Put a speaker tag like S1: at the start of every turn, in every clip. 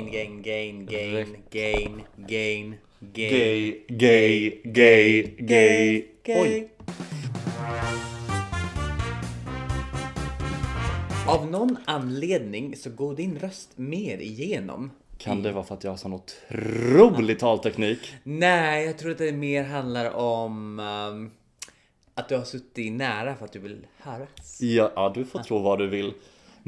S1: Gain, gain, gain, gain, gain, gain.
S2: Gay, gay, gay, gay. Oj.
S1: Av någon anledning så går din röst mer igenom.
S2: Kan det vara för att jag har sån otrolig talteknik?
S1: Nej, jag tror att det mer handlar om ehm, att du har suttit nära för att du vill höras.
S2: Ja, ja, du får tro vad du vill.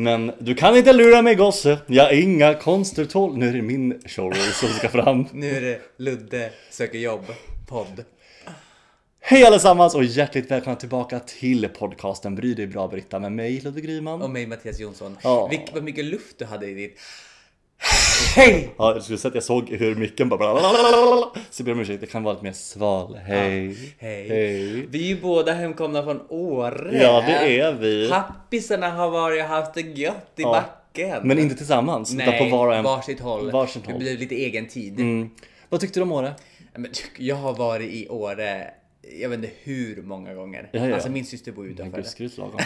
S2: Men du kan inte lura mig gosse. Jag är inga konster tål. Nu är det min showroll som ska fram.
S1: Nu är det Ludde söker jobb podd.
S2: Hej allesammans och hjärtligt välkomna tillbaka till podcasten Bry dig bra Britta med mig Ludvig
S1: Och
S2: Ryman.
S1: mig Mattias Jonsson.
S2: Ja.
S1: Vilk, vad mycket luft du hade i ditt... Hej!
S2: Ja, du skulle sett jag såg hur micken bara blablabla. Så jag ber om ursäkt, det kan vara lite mer sval. Hej.
S1: Hej.
S2: Hej.
S1: Vi är ju båda hemkomna från Åre.
S2: Ja, det är vi.
S1: Pappisarna har varit och haft det gött i
S2: Ja.
S1: backen.
S2: Men inte tillsammans, utan
S1: Nej,
S2: på var och en.
S1: varsitt håll.
S2: Varsitt
S1: Det
S2: håll.
S1: blir lite egen tid.
S2: Mm. Vad tyckte du om Åre?
S1: Men tyck- jag har varit i Åre, jag vet inte hur många gånger.
S2: Ja, ja.
S1: Alltså min syster bor ju
S2: Men
S1: utanför.
S2: gud, skryt lagom.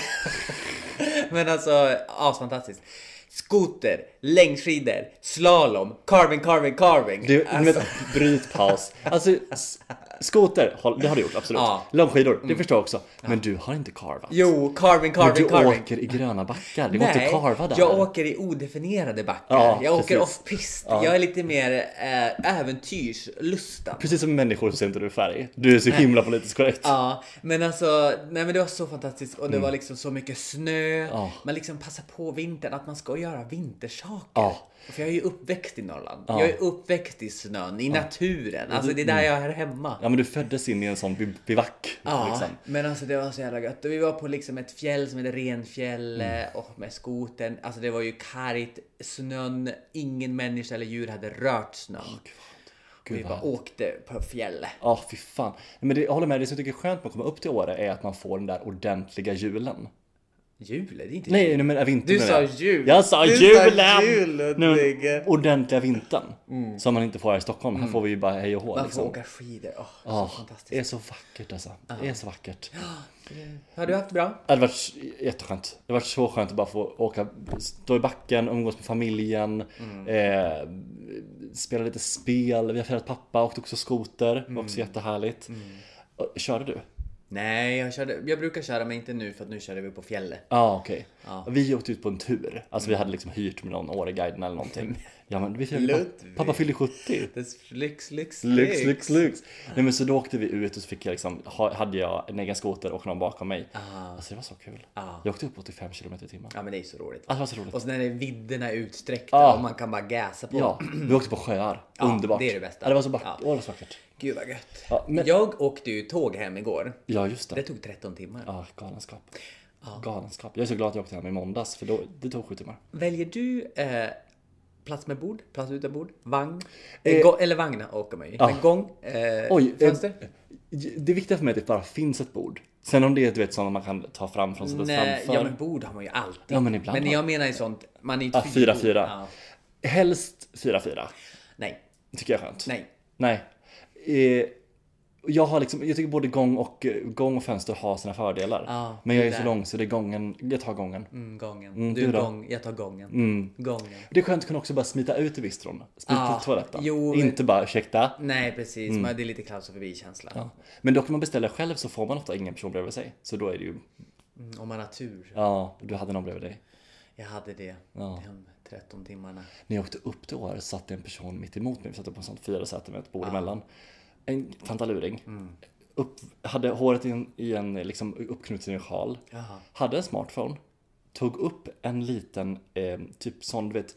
S1: Men alltså, asfantastiskt. Skoter, längdskidor, slalom, carving, carving, carving.
S2: Du,
S1: Alltså,
S2: men, bryt paus. Alltså, s- skoter, håll- det har du gjort absolut.
S1: Ja. Mm.
S2: Långskidor, det förstår jag också. Men du har inte karvat.
S1: Jo, carving, carving,
S2: du
S1: carving.
S2: åker i gröna backar, det går inte att karva där.
S1: jag åker i odefinierade backar.
S2: Ja,
S1: jag åker
S2: precis.
S1: off-pist. Jag är lite mer eh, äventyrslustan.
S2: Precis som människor så ser inte du färg. Du är så himla politiskt korrekt.
S1: Ja, men alltså, nej men det var så fantastiskt och det var liksom så mycket snö.
S2: Mm. Ja.
S1: Man liksom passar på vintern, att man ska göra vintersaker.
S2: Ja.
S1: För jag är ju uppväxt i Norrland. Jag är uppväxt i snön, i naturen. Alltså det är där
S2: mm.
S1: jag är här hemma.
S2: Ja men du föddes in i en sån bi- bivack.
S1: Ja,
S2: Liksom.
S1: men alltså det var så jävla gött. Och vi var på liksom ett fjäll som heter Renfjäll
S2: Mm.
S1: eh, och med skoten. Alltså det var ju kargt, snön, ingen människa eller djur hade rört snön. och vi
S2: Gud, vad
S1: bara åkte på fjället.
S2: Ja, fy fan. Nej, Men det, jag håller med, det som jag tycker är skönt med att komma upp till Åre är att man får den där ordentliga julen.
S1: Jul? Det är inte
S2: Nej, nej men vintern
S1: Du
S2: menar
S1: sa
S2: jag.
S1: jul.
S2: Jag sa
S1: Du sa
S2: julen!
S1: jul,
S2: Nej,
S1: Ludvig.
S2: men, ordentliga vintern.
S1: Mm.
S2: Som man inte får här i Stockholm. Här får vi ju bara hej och hå.
S1: Man
S2: liksom. Ah.
S1: får åka skidor. Åh, så
S2: Ja, det är
S1: Mm. fantastiskt.
S2: så vackert alltså. Det är så vackert.
S1: Har du haft det bra?
S2: Det hade varit jätteskönt. Det hade varit så skönt att bara få åka, stå i backen, umgås med familjen,
S1: Mm.
S2: eh, spela lite spel. Vi har firat pappa, åkte också skoter. Det var också
S1: Mm.
S2: jättehärligt. Och- Körde du?
S1: Nej, jag, körde, jag brukar köra men inte nu för att nu körde vi på fjället.
S2: Ja, okej. Vi åkte ut på en tur. Alltså vi hade liksom hyrt med någon Åreguiden eller någonting. Ja, men vi firade
S1: Ludvig.
S2: pappa, pappa fyllde 70.
S1: Lyx, lyx, lyx.
S2: Lyx, lyx, lyx. Nej men så då åkte vi ut och så fick jag liksom, ha- hade jag en egen skoter och någon bakom mig. Alltså det var så kul. Jag åkte upp 85 km i timmen.
S1: Ah. Ja men det är ju så roligt.
S2: Alltså det var så roligt. Ah.
S1: Och sen är det vidderna utsträckta och man kan bara gasa på.
S2: Ja, vi åkte på sjöar. Underbart.
S1: det är det bästa.
S2: Ja, det var så vackert.
S1: Ja.
S2: Åh, det var så vackert.
S1: Gud vad gött.
S2: Ja, men-
S1: Jag åkte ju tåg hem igår.
S2: Ja, just
S1: Det
S2: det.
S1: tog 13 timmar.
S2: Ja, galenskap. Galenskap. Jag är så glad att jag åkte hem i måndags för då, det tog sju timmar.
S1: Väljer du eh, plats med bord, plats utan bord, vagn? Eh, gå- eller vagn åker man ju.
S2: ah,
S1: Men gång, eh,
S2: Oj, eh,
S1: fönster?
S2: det viktiga för mig är att det bara finns ett bord. Sen om det är du vet sådant man kan ta fram från stället
S1: Nej,
S2: framför.
S1: ja men bord har man ju alltid.
S2: Ja, men ibland har-
S1: jag menar ju sånt, man är ju
S2: Ja,
S1: ett
S2: fyra,
S1: fyrbord.
S2: fyra.
S1: Ja.
S2: Helst 4-4.
S1: Nej,
S2: Tycker jag är skönt.
S1: nej.
S2: Nej. Eh, jag, har liksom, jag tycker både gång och, gång och fönster har sina fördelar.
S1: Ja,
S2: men jag
S1: det
S2: är så
S1: där.
S2: lång så det är gången, jag tar gången.
S1: Mm, gången.
S2: du
S1: du
S2: då? Mm.
S1: gång, jag tar gången. Gången.
S2: Det är skönt att kunna också bara smita ut i bistron. Smita
S1: Ja,
S2: till toaletten.
S1: jo.
S2: Inte bara ursäkta.
S1: Nej precis, men det är lite klaustrofobi-känsla.
S2: Mm. Ja. Men dock om man beställer själv så får man ofta ingen person bredvid sig. Så då är det ju,
S1: Mm, om man har tur.
S2: ja, du hade någon bredvid dig.
S1: Jag hade det
S2: Ja.
S1: de 13 timmarna.
S2: När jag åkte upp till Åre satt det en person mitt emot mig. Vi satt på en sån fyra säten med ett bord emellan. En tantaluring.
S1: Mm.
S2: Upp, hade håret i en, i en liksom uppknutet i en sjal.
S1: Jaha.
S2: Hade en smartphone. Tog upp en liten, eh, typ sån du vet,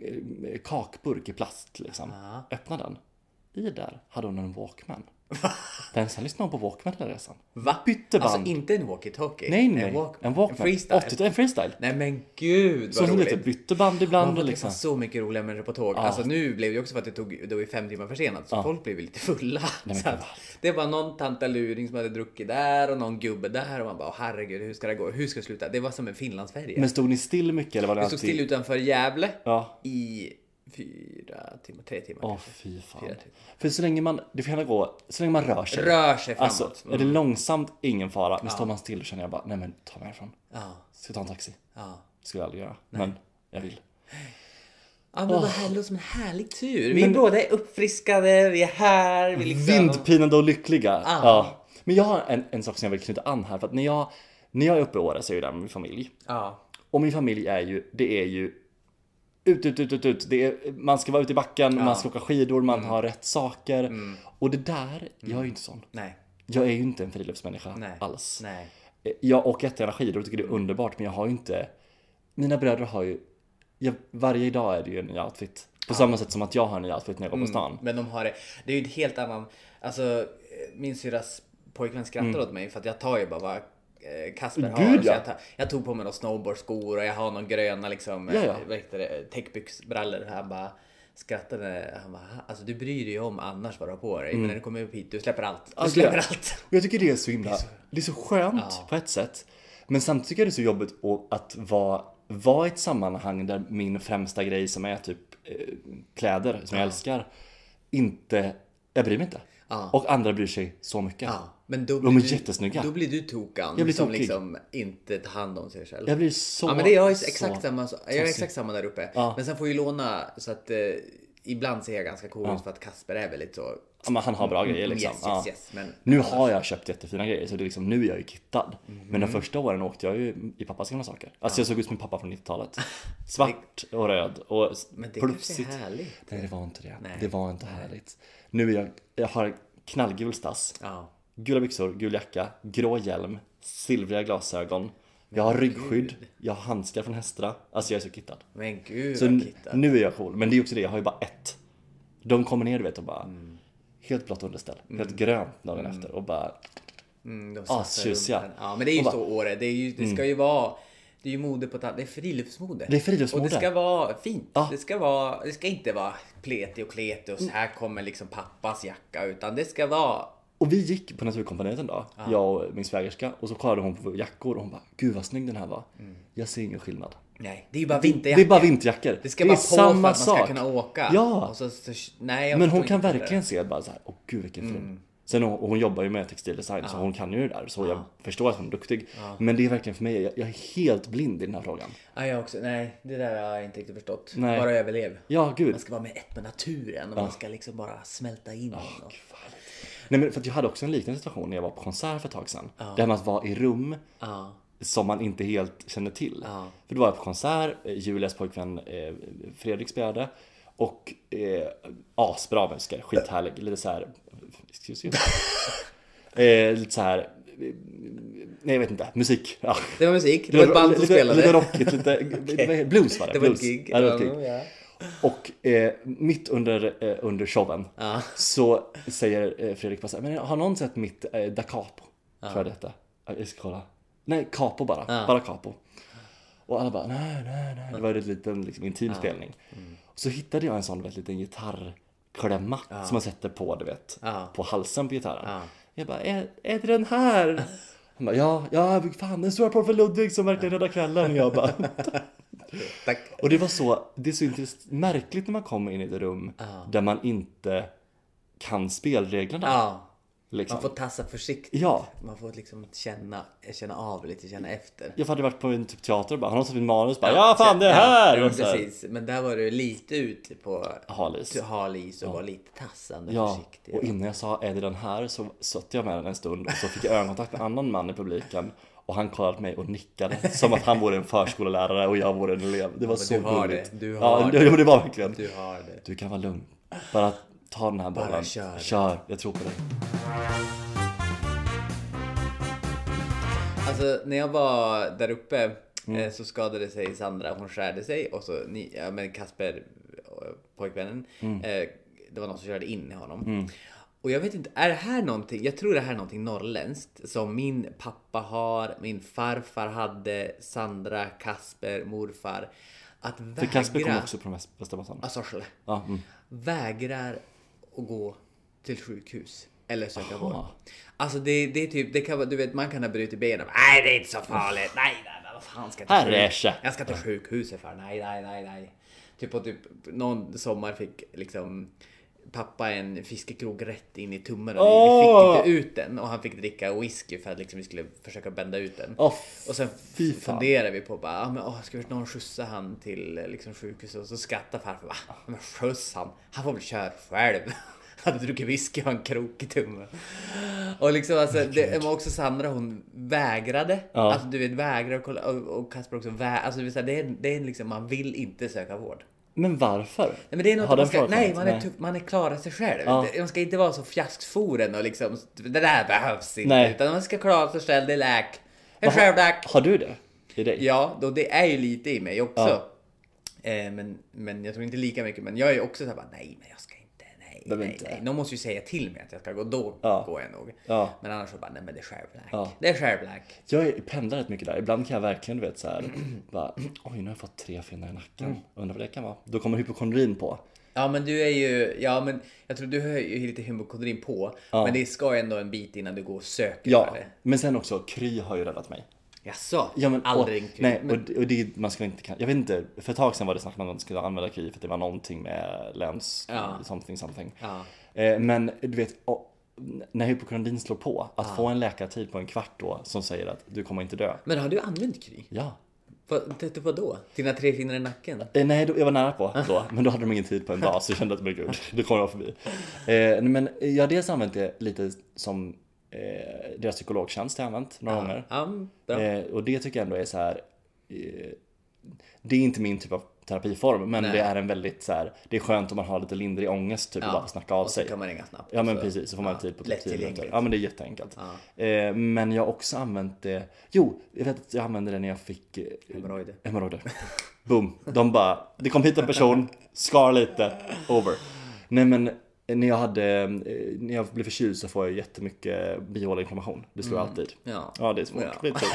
S2: eh, kakburk i plast liksom. Öppnade den. I där hade hon en Walkman. den sen lyssnade hon på Walkman hela resan.
S1: Va?
S2: Bytte band.
S1: Alltså inte en walkie-talkie.
S2: Nej, nej. En,
S1: walk-
S2: Walkman.
S1: En freestyle.
S2: 80, en freestyle.
S1: Nej men gud
S2: Så typ.
S1: vad
S2: hon
S1: roligt.
S2: lite bytte band ibland.
S1: Man
S2: och
S1: liksom.
S2: liksom.
S1: så mycket roliga människor på tåg. Alltså nu blev det också för att det tog, det var ju fem timmar försenat. Så folk blev ju lite fulla. så att, det var någon tantaluring som hade druckit där och någon gubbe där och man bara "Åh, herregud hur ska det gå? Hur ska det sluta? Det var som en Finlandsfärja.
S2: Men stod ni still mycket eller var det
S1: Vi stod still utanför Gävle
S2: Ja.
S1: i fyra timmar, tre timmar.
S2: Åh
S1: kanske.
S2: fy fan.
S1: Fyra timmar.
S2: För så länge man, det får gärna gå, så länge man rör sig.
S1: Rör sig framåt. Mm.
S2: Alltså, är det långsamt, ingen fara. Men står man still känner jag bara, nej men ta mig härifrån.
S1: Ja,
S2: Ska jag ta en taxi?
S1: ja.
S2: Skulle jag aldrig göra. Men jag vill.
S1: Ja, men vad här låter som en härlig tur. Vi är båda uppfriskade, vi är här, vi liksom...
S2: Vindpinande och lyckliga.
S1: Ah.
S2: Ja. Men jag har en, en sak som jag vill knyta an här för att när jag, när jag är uppe i Åre så är jag där med min familj.
S1: Ja.
S2: Och min familj är ju, det är ju ut, ut, ut, ut, ut. Det är, man ska vara ute i backen, man ska åka skidor, man
S1: Mm.
S2: har rätt saker. Och det där, jag är ju inte sån.
S1: Nej.
S2: Jag är ju inte en friluftsmänniska
S1: Mm. Nej.
S2: alls.
S1: Nej.
S2: Jag åker jättegärna skidor och tycker det är underbart men jag har ju inte Mina bröder har ju jag, Varje dag är det ju en ny outfit På samma sätt som att jag har en ny outfit när
S1: Mm.
S2: jag går på stan
S1: Men de har det. Det är ju ett helt annan... Alltså, eh, min syrras pojkvän skrattar åt mig för att jag tar ju bara vad eh, Kasper har.
S2: Mm. Gud,
S1: så
S2: ja.
S1: jag, tar, jag tog på mig några snowboardskor och jag har någon gröna liksom, eh,
S2: Ja, ja.
S1: vad heter det, täckbyxbrallor. Han bara skrattade. Han bara, alltså du bryr dig ju om annars vad du har på dig. Men när du kommer upp hit, du släpper allt. Du
S2: Alltså,
S1: släpper
S2: Mm. ja.
S1: allt.
S2: Och jag tycker det är så himla Det är så skönt på ett sätt Men samtidigt tycker jag det är så jobbigt att- att vara vara i ett sammanhang där min främsta grej som är typ eh, kläder som jag älskar inte, jag bryr mig inte.
S1: Ja.
S2: Och andra bryr sig så mycket.
S1: Ja, men då
S2: De
S1: blir
S2: är
S1: du-
S2: jättesnygga.
S1: Då blir du tokan
S2: Jag blir
S1: som
S2: tokig.
S1: liksom inte tar hand om sig själv.
S2: Jag blir så...
S1: Ja men det är jag är
S2: så-
S1: exakt samma, jag är exakt samma där uppe.
S2: Ja.
S1: Men sen får jag ju låna så att eh, ibland ser jag ganska cool ut för att Kasper är väldigt så
S2: Ja, men han har bra grejer liksom.
S1: Mm, yes yes
S2: Ja.
S1: yes. Men
S2: Nu har jag köpt jättefina grejer så det är liksom, nu är jag ju kittad. Men
S1: Mm.
S2: de första åren åkte jag ju i pappas gamla saker. Alltså jag såg ut som min pappa från 90-talet. Svart och röd och s-
S1: Men det
S2: plufsigt.
S1: kanske är härligt.
S2: Nej det var inte det.
S1: Nej.
S2: Det var inte härligt. Nu är jag, jag har knallgul stass.
S1: ja.
S2: Gula byxor, gul jacka, grå hjälm, silvriga glasögon. Jag har ryggskydd, jag har handskar från Hestra. Alltså jag är så kittad.
S1: Men gud
S2: Så
S1: vad
S2: n-
S1: kittat.
S2: nu är jag cool, men det är också det, jag har ju bara ett. De kommer ner du vet och bara Helt blått underställ, helt grönt dagen efter och bara
S1: Mm, de
S2: Ah,
S1: satsar runt
S2: tjusiga.
S1: den. Ja men det är ju
S2: Och bara- Mm.
S1: så Åre. Det, är ju, det ska ju vara det är ju mode på ett annat- Det är friluftsmode.
S2: Det är friluftsmode.
S1: Och det ska vara fint.
S2: Ja. Mm.
S1: Det, ska vara, det ska inte vara pletig och kletig och så här kommer liksom pappas jacka. Utan det ska vara...
S2: Och vi gick på Naturkompaniet en dag, jag och min svägerska och så kollade hon på jackor och hon bara Gud vad snygg den här var
S1: Mm.
S2: Jag ser ingen skillnad
S1: Nej, det är ju bara vinterjacka.
S2: Det är bara vinterjackor
S1: Det ska
S2: är
S1: vara på för att man ska kunna åka.
S2: Ja.
S1: Och så, så, nej, jag
S2: Men
S1: förstår
S2: hon kan
S1: inte det. Mm.
S2: verkligen se bara så här, åh gud vilken fin Sen hon, och hon jobbar ju med textildesign så hon kan ju det där så jag förstår att hon är duktig Men det är verkligen för mig, jag, jag är helt blind i den här frågan
S1: Ja, jag också. Nej, det där har jag inte riktigt förstått.
S2: Nej.
S1: Bara överlev.
S2: Ja gud
S1: Man ska vara med ett med naturen och man ska liksom bara smälta in. och...
S2: Nej men för att jag hade också en liknande situation när jag var på konsert för ett tag sedan. Det här med att vara i rum
S1: Ja.
S2: som man inte helt känner till. För då var jag på konsert, eh, Julias pojkvän eh, Fredrik spelade och eh, asbra musiker, skithärlig, lite såhär, excuse you. eh, lite såhär, eh, nej jag vet inte, musik. Ja.
S1: Det var musik, det var ett band som
S2: lite,
S1: spelade.
S2: Lite rockigt, lite vad- blues var det.
S1: Det var ett
S2: blues.
S1: gig.
S2: Ja, det var ett gig.
S1: Ja, ja.
S2: Och eh, mitt under, eh, under showen så säger eh, Fredrik bara så här, men har någon sett mitt eh, da capo? Tror jag det hette. Ja, Jag ska kolla. Nej, capo bara. Bara capo. Och alla bara nej, nej, nej. Det var en liten liksom, intim spelning. Och så hittade jag en sån vet, liten gitarrklämma som man sätter på, du vet, på halsen på gitarren. Jag bara, är, är det den här? Han bara, ja, ja, fan den stora för Ludvig som verkligen räddar kvällen. Jag bara,
S1: Tack.
S2: och det var så, det är så intress- märkligt när man kommer in i ett rum där man inte kan spelreglerna.
S1: Ja.
S2: Liksom.
S1: Man får tassa försiktigt.
S2: Ja.
S1: Man får liksom känna, känna av lite, känna efter.
S2: Jag hade varit på en typ teater och bara, har någon sett min manus? Bara, ja fan det är här!
S1: Ja,
S2: och så här.
S1: precis. Men där var du lite ute på
S2: Halis.
S1: hal is och var lite tassande
S2: Ja,
S1: försiktig.
S2: och innan jag sa är det den här så satt jag med den en stund och så fick jag ögonkontakt med en annan man i publiken och han kollade på mig och nickade som att han vore en förskollärare och jag vore en elev. Det var så
S1: du har
S2: gulligt.
S1: det. Du
S2: ja,
S1: har
S2: det. Ja, det var verkligen.
S1: Du har det.
S2: Du kan vara lugn. Bara ta den här bollen.
S1: kör.
S2: kör. Jag tror på dig.
S1: Alltså när jag var där uppe
S2: Mm.
S1: eh, så skadade sig Sandra. Hon skärde sig och så ni, ja, men Kasper, eh, pojkvännen,
S2: Mm.
S1: eh, det var någon som körde in i honom. Och jag vet inte, är det här någonting? Jag tror det här är någonting norrländskt som min pappa har, min farfar hade, Sandra, Kasper, morfar. Att vägra.
S2: För Kasper kom också från Väst- Västerbotten.
S1: Ja, Sorsele.
S2: Ja, mm.
S1: vägrar att gå till sjukhus eller söka
S2: Aha.
S1: vård. Alltså det, det är typ, det kan, vara- du vet man kan ha brutit benen. Nej det är inte så farligt. Nej nej nej vad fan ska jag
S2: Här
S1: till
S2: är
S1: sjuk-
S2: det.
S1: Jag ska till sjukhuset för. Nej nej nej nej. Typ på typ någon sommar fick liksom pappa en fiskekrog rätt in i tummen och
S2: Åh!
S1: vi fick inte ut den och han fick dricka whisky för att liksom vi skulle försöka bända ut den.
S2: Åh,
S1: Och sen
S2: fy fan.
S1: funderade vi på bara, ah, men, åh, ska vi någon skjutsa han till eh, liksom, sjukhuset? Och så skrattar farfar, va? Ja, Men skjuts han? Han får väl köra själv. Han hade druckit whisky och en krok i tummen. Och liksom alltså, det var också Sandra hon vägrade.
S2: Ja.
S1: Alltså du vet vägrade och, kolla, och, och Kasper också vägrade. Alltså det vill säga, det är, det är liksom, man vill inte söka vård.
S2: Men varför?
S1: Nej, men det är något man
S2: Har den
S1: ska,
S2: frågan
S1: nej,
S2: kommit?
S1: man är, tuff, man är klara sig själv.
S2: Ja.
S1: Det- Man ska inte vara så fjaskforen och liksom, det där behövs inte.
S2: Nej.
S1: Utan man ska klara sig själv, det är läk. En
S2: Vad har-
S1: självläk.
S2: Har du det? I dig?
S1: Ja, då det är ju lite i mig också. Eh, men, men jag tror inte lika mycket. Men jag är ju också såhär bara, nej men jag ska inte, nej,
S2: Det vill
S1: nej,
S2: inte.
S1: nej. Någon måste ju säga till mig att jag ska gå, då
S2: Ja.
S1: går jag nog.
S2: Ja.
S1: Men annars så bara, nej men det är självläk.
S2: Ja.
S1: Det är självläk.
S2: Jag är- pendlar rätt mycket där. Ibland kan jag verkligen du vet så här, bara, oj nu har jag fått tre finnar i nacken. Undrar vad det kan vara. Då kommer hypokondrin på.
S1: Ja men du är ju, ja men jag tror du har ju lite hypokondrin på. Men det ska ju ändå en bit innan du går och söker
S2: Ja,
S1: för det.
S2: men sen också Kry har ju räddat mig.
S1: Jaså?
S2: Ja, men,
S1: Aldrig
S2: och,
S1: kul.
S2: Nej,
S1: men,
S2: och, och det, man skulle inte, kan- jag vet inte, för ett tag sedan var det snack om att man skulle använda Kry för att det var någonting med läns,
S1: Ja.
S2: something something.
S1: Ja.
S2: Eh, men du vet, och, när hypokondrin slår på, att få en läkartid på en kvart då som säger att du kommer inte dö.
S1: men har du använt kry?
S2: Ja.
S1: Vad- Till vad då? Dina tre finnar i nacken?
S2: Eh, nej, då, jag var nära på då, men då hade de ingen tid på en dag så jag kände att men gud, då kommer jag förbi. Eh, men jag har dels använt det lite som eh, deras psykologtjänst har jag använt några gånger.
S1: Ja, mm, bra.
S2: Eh, och det tycker jag ändå är så här. Eh, det är inte min typ av terapiform men det är en väldigt så här. Det är skönt om man har lite lindrig ångest typ och bara snacka av
S1: och så
S2: sig.
S1: kan man ringa snabbt.
S2: Ja men
S1: Så-
S2: precis, så får man
S1: Alltså, ja,
S2: tid på typ 10
S1: lättillgängligt.
S2: minuter. Ja men det är jätteenkelt. Eh, men jag har också använt det. Jo, jag vet att jag använde det när jag fick eh,
S1: Hemorrojder.
S2: hemorrojder. Boom. De bara, det kom hit en person, skar lite, over. Nej men när jag hade, eh, när jag blev förkyld så får jag jättemycket bihåleinflammation. Det slår alltid.
S1: Mm. Ja.
S2: Ja, det är svårt.
S1: Ja.
S2: Det är tungt.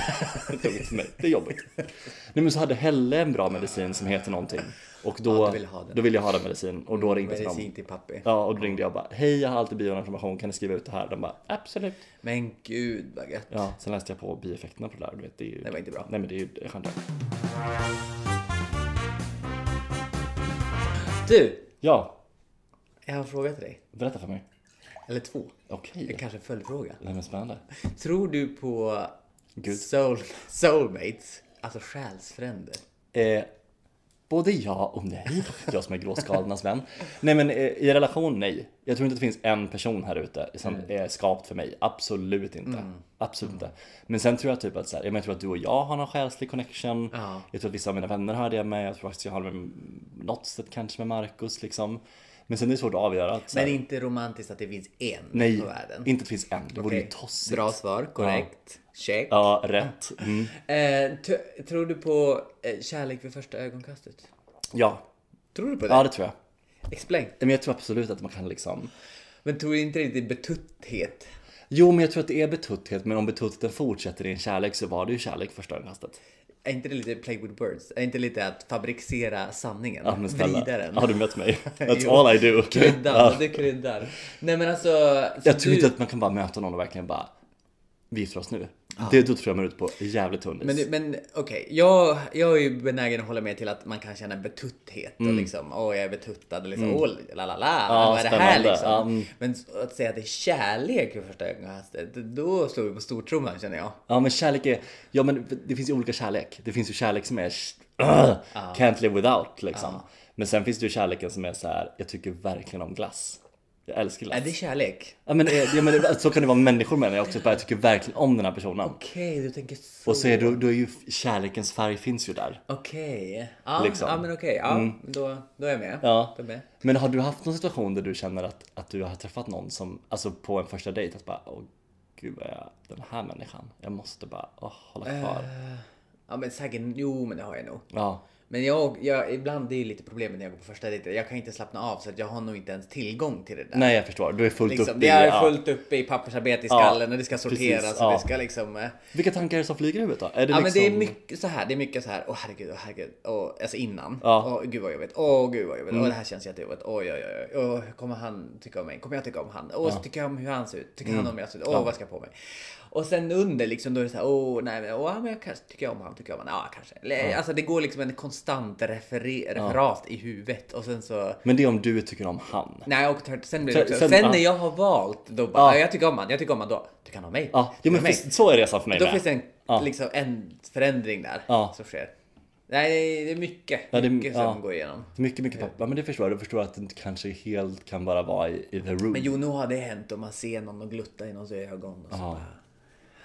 S2: Det är tungt för mig. Det är jobbigt. Nej men så hade Helle en bra medicin som heter någonting. Och då,
S1: Ja, du ville ha den. Mm,
S2: då ville jag ha den medicin och då ringde de.
S1: Medicin till pappi.
S2: Ja, och då ringde jag och bara Hej, jag har alltid bioinformation, kan ni skriva ut det här? De bara Absolut.
S1: Men gud vad gött.
S2: Ja, sen läste jag på bieffekterna på det där. Du vet, det, är ju...
S1: Det var inte bra.
S2: Nej, men det är ju skönt.
S1: Du!
S2: Ja,
S1: Jag har en fråga till dig.
S2: berätta för mig.
S1: Eller två.
S2: Okej.
S1: Det kanske är en följdfråga.
S2: Nej, men spännande.
S1: Tror du på
S2: Gud.
S1: soul, soulmates? Alltså själsfränder?
S2: Eh, både ja och nej. Jag som är gråskalornas vän. Nej, men eh, i relation, nej. Jag tror inte att det finns en person här ute som är skapt för mig. Absolut inte. Absolut inte. Men sen tror jag typ att så här, jag, menar, jag tror att du och jag har någon själslig connection.
S1: Ja.
S2: Jag tror att vissa av mina vänner har det med. Jag tror faktiskt jag har det med något sätt kanske med Marcus liksom. Men sen är det svårt att avgöra. Att, så här,
S1: Men inte romantiskt att det finns en
S2: nej,
S1: på världen?
S2: inte att det finns en. Det vore ju
S1: Okej.
S2: tossigt.
S1: Bra svar, korrekt. Check.
S2: Ja, rätt. Mm.
S1: Eh, t- tror du på eh, kärlek vid första ögonkastet?
S2: Ja.
S1: Tror du på det?
S2: ja, det tror jag.
S1: Explain.
S2: Men jag tror absolut att man kan liksom
S1: Men tror du inte det är lite betutthet?
S2: Jo, men jag tror att det är betutthet, men om betuttheten fortsätter i en kärlek så var det ju kärlek första ögonkastet.
S1: Är inte det lite play with words? Är inte lite att fabricera sanningen?
S2: Ja, men snälla.
S1: Vrida den?
S2: Har du mött mig? That's
S1: Jo.
S2: all I do.
S1: Kryddar,
S2: Ja.
S1: det kryddar. Nej men alltså...
S2: Jag tror
S1: du,
S2: inte att man kan bara möta någon och verkligen bara, vi gifter oss nu. Det då tror jag man är ute på jävligt tunn is.
S1: Men, du- men okej, jag, jag är ju benägen att hålla med till att man kan känna betutthet och liksom, åh jag är betuttad, liksom, åh la la la,
S2: Mm. Ja,
S1: vad är det här
S2: spännande.
S1: liksom?
S2: Ja, mm.
S1: Men att säga att det är kärlek i första ögonkastet, då slår vi på stortrumman känner jag.
S2: Ja, men kärlek är, ja men det finns ju olika kärlek. Det finns ju kärlek som är, "Ugh, can't live without liksom. Men sen finns det ju kärleken som är så här, jag tycker verkligen om glass. Jag älskar glass.
S1: Är det kärlek?
S2: Ja, men, eh, ja, men det- så kan det vara med människor menar jag också, bara jag tycker verkligen om den här personen.
S1: Okej, du tänker så.
S2: Och så är, då, då är ju kärlekens färg finns ju där.
S1: Okej, ja,
S2: Liksom.
S1: ja men okej, ja, då, då är jag med.
S2: Ja.
S1: Då är jag med.
S2: Men har du haft någon situation där du känner att, att du har träffat någon som, alltså på en första dejt, att bara åh gud vad är den här människan? Jag måste bara åh, hålla kvar.
S1: Eh. Ja men säkert, jo men det har jag nog.
S2: Ja,
S1: Men jag, jag, ibland det är ju lite problemet när jag går på första dejten. Jag kan inte slappna av så att jag har nog inte ens tillgång till det där.
S2: nej jag förstår. Du är fullt
S1: liksom,
S2: upp
S1: det är
S2: ja.
S1: fullt uppe i pappersarbete i skallen och det ska
S2: precis,
S1: sorteras och
S2: ja.
S1: det ska liksom... eh,
S2: Vilka tankar är det som flyger i huvudet då? Är det
S1: Ja men
S2: liksom...
S1: det är mycket så här, det är mycket så här, åh herregud, åh herregud, åh, alltså innan.
S2: Ja. Mm.
S1: Åh gud vad jobbigt, åh gud vad jobbigt, åh det här känns jättejobbigt, oj oj oj, oj,
S2: Mm.
S1: åh, kommer han tycka om mig, kommer jag tycka om han, åh så tycker jag om hur han ser ut, tycker han om hur jag ser ut, åh vad ska jag på mig. Och sen under liksom då är det så här, åh nej, men, åh, men jag kanske tycker jag om han, tycker jag om han, ja kanske. Eller, Alltså det går liksom en konstant referer- referat i huvudet och sen så
S2: Men det är om du tycker om han.
S1: Nej, och tvärt- sen blir det
S2: Sen-
S1: också, sen,
S2: sen- ja.
S1: när jag har valt då bara,
S2: Ja.
S1: ja. jag tycker om han, jag tycker om han då, tycker han om mig?
S2: Ja,
S1: Tycker
S2: jo, men
S1: han om mig?
S2: finns- så är resan för mig
S1: Då
S2: med.
S1: finns det en,
S2: Ja.
S1: liksom, en förändring där
S2: Ja.
S1: som sker. Nej, det är- det är mycket,
S2: det är-
S1: mycket
S2: ja.
S1: som går igenom.
S2: Mycket, mycket pappa. Men det förstår jag. Du förstår att det inte kanske helt kan bara vara i, i the room.
S1: Men jo, nu har det hänt om man ser någon och gluttar i någons ögon och så bara,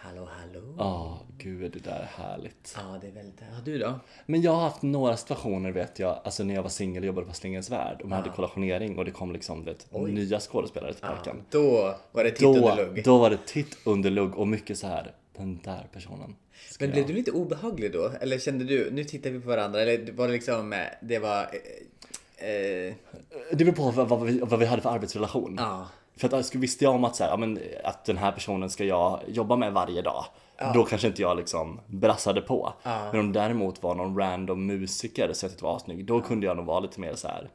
S1: hallå, hallå. Ja.
S2: Ja, gud det där är härligt.
S1: det är väldigt... Ja, du då?
S2: Men jag har haft några situationer vet jag, alltså när jag var singel och jobbade på Slingens Värld och man
S1: Ah.
S2: hade kollationering och det kom liksom vet, nya skådespelare till parken.
S1: Då var det Ah. titt
S2: Då,
S1: under lugg.
S2: då var det titt under lugg och mycket så här den där personen. ska
S1: Men
S2: jag-
S1: blev du lite obehaglig då? Eller kände du, nu tittar vi på varandra, eller var det liksom, eh, det var... Eh, eh,
S2: Det beror på vad, vad, vi, vad vi hade för arbetsrelation.
S1: ja.
S2: För att alltså, visste jag om att, så här, ja, men, att den här personen ska jag jobba med varje dag.
S1: Ah.
S2: Då kanske inte jag liksom brassade på. Men om det däremot var någon random musiker som jag tyckte var assnygg,
S1: Ah.
S2: då kunde jag nog vara lite mer så här.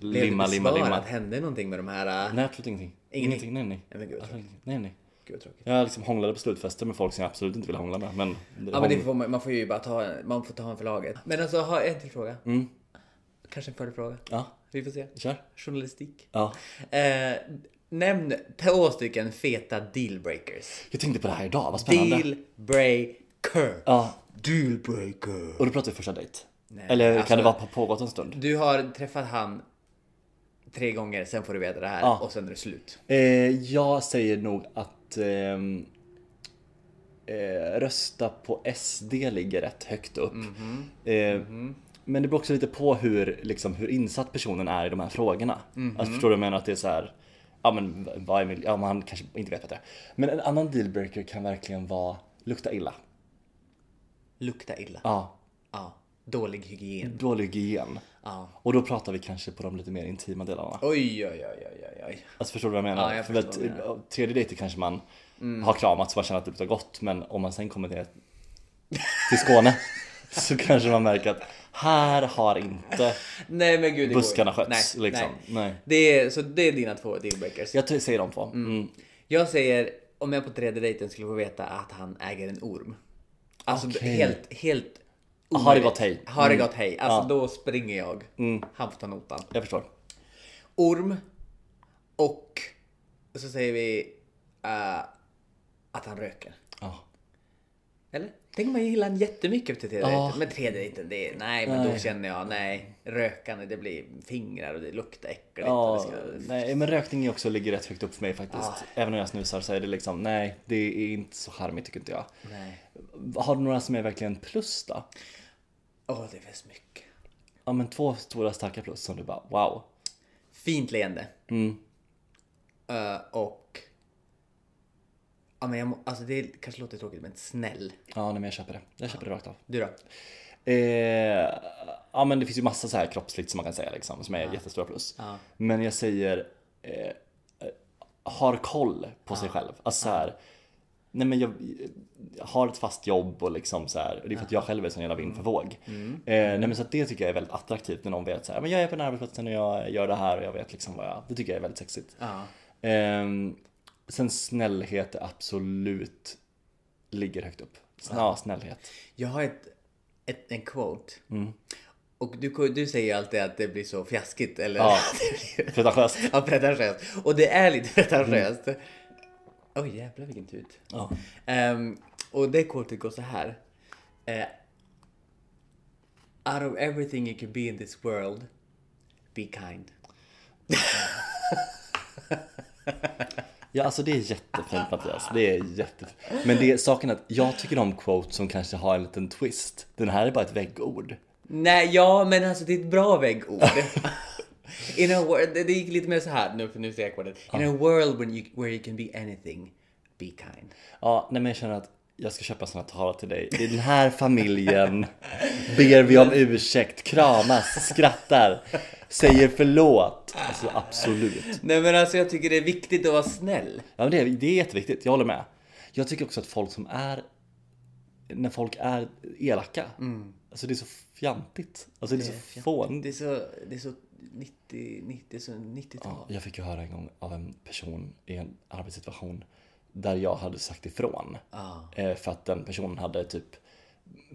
S1: Blev
S2: Limma,
S1: du
S2: limma,
S1: besvarad?
S2: limma.
S1: Hände någonting med de här... eh,
S2: Nej absolut ingenting.
S1: Ingenting?
S2: Nej nej.
S1: Nej, men gud, vad
S2: Alltså, nej nej.
S1: Gud vad tråkigt.
S2: Jag liksom hånglade på slutfester med folk som jag absolut inte ville hångla med. Men,
S1: Ja, men det
S2: hång-
S1: får man, man får ju bara ta, man får ta en för laget. Men alltså, ha en till fråga.
S2: Mm.
S1: Kanske en följdfråga.
S2: ja
S1: Vi får se.
S2: kör.
S1: Journalistik.
S2: Ja.
S1: Eh, nämn två stycken feta dealbreakers.
S2: Jag tänkte på det här idag, vad spännande.
S1: Dealbreaker.
S2: Ja,
S1: Dealbreaker.
S2: och då pratar vi första dejt.
S1: Nej,
S2: Eller
S1: alltså-
S2: kan det vara på- pågått en stund?
S1: Du har träffat han tre gånger, sen får du veta det här
S2: Ja.
S1: och sen är det slut.
S2: Eh, jag säger nog att ehm, eh, rösta på SD ligger rätt högt upp. Eh, Men det beror också lite på hur, liksom, hur insatt personen är i de här frågorna. Alltså, förstår du vad jag menar? Att det är så här, ja men vad är miljö? Ja, men han kanske inte vet bättre. Men en annan dealbreaker kan verkligen vara lukta illa.
S1: Lukta illa.
S2: Ja,
S1: Ja. Dålig hygien.
S2: dålig hygien.
S1: Ja.
S2: Och då pratar vi kanske på de lite mer intima delarna.
S1: Oj, oj, oj, oj, oj, oj.
S2: Alltså förstår du vad jag menar?
S1: Ja, jag
S2: För
S1: förstår
S2: att,
S1: vad du menar. Mm.
S2: eh, tredje dejten kanske man har kramats och man känner att det luktar gott men om man sen kommer ner till Skåne så kanske man märker att här har inte...
S1: Nej men gud, det går
S2: Buskarna
S1: ju.
S2: sköts, liksom. Nej.
S1: Det är, så det är dina två dealbreakers.
S2: Jag t- säger de två. Mm.
S1: Jag säger, om jag på tredje dejten skulle få veta att han äger en orm. Alltså helt, helt
S2: Ah, har det
S1: omöjligt.
S2: gått hej. Mm.
S1: Har det gått hej. Alltså då springer jag. Han får ta notan.
S2: Jag förstår.
S1: Orm. Och så säger vi eh, att han röker.
S2: Ja.
S1: Eller? Tänk om man gillar han jättemycket efter tredje
S2: Ja.
S1: dejten. Men tredje dejten, det är, nej men då
S2: Nej.
S1: känner jag nej. Rökande, det blir fingrar och det luktar äckligt. och det
S2: Ja,
S1: ska, Ah.
S2: nej, men rökning är också ligger rätt högt upp för mig faktiskt. Även om jag snusar så är det liksom, nej, det är inte så charmigt tycker inte jag.
S1: nej.
S2: Har du några som är verkligen plus då?
S1: Åh, det finns mycket.
S2: Ja, men två stora starka plus som du bara, wow.
S1: Fint leende. Eh, och... Ja, men jag må, alltså det kanske låter tråkigt, men snäll.
S2: Ja, nej, men jag köper det. Jag köper det rakt av.
S1: Du då?
S2: Eh, ja men det finns ju massa så här kroppsligt som man kan säga liksom, som är jättestora plus. Men jag säger eh, eh, har koll på sig själv. Alltså så här, nej men jag, jag har ett fast jobb och liksom så här, och det är för att jag själv är sån jävla vind för våg. Eh, nej men så att det tycker jag är väldigt attraktivt när någon vet så här, men jag är på den här arbetsplatsen och jag gör det här och jag vet liksom vad jag, det tycker jag är väldigt sexigt.
S1: Ja.
S2: Ehm, sen snällhet är absolut ligger högt upp. Ja, snällhet.
S1: Jag har ett, ett, en quote. Och du, du säger ju alltid att det blir så fjaskigt, eller?
S2: Ja.
S1: det blir,
S2: Pretentiöst.
S1: ja, pretentiöst. Och det är lite pretentiöst. Oj, jävlar vilken tut.
S2: Ja.
S1: Ehm, och det kortet går så här. Eh, out of everything you could be in this world, be kind.
S2: Ja, alltså det är jättefint Mattias. Det är jättefint. Men det är saken är att jag tycker om quotes som kanske har en liten twist. Den här är bara ett väggord.
S1: Nej, ja, men alltså det är ett bra väggord. In a world, det det gick lite mer så här nu, för nu ser jag kortet. In a world when you, where you can be anything, be kind.
S2: Ja, nej men jag känner att jag ska köpa såna tavlor till dig. I den här familjen ber vi om ursäkt, kramas, skrattar, säger förlåt. Alltså absolut.
S1: Nej, men alltså jag tycker det är viktigt att vara snäll.
S2: Ja, men det, är, det är jätteviktigt, jag håller med. Jag tycker också att folk som är, när folk är elaka, alltså det är så fjantigt. Alltså det är så fånigt.
S1: Det är så, det är så 90, 90, så 90-tal.
S2: Jag fick ju höra en gång av en person i en arbetssituation där jag hade sagt ifrån.
S1: Ah.
S2: Eh, För att den personen hade typ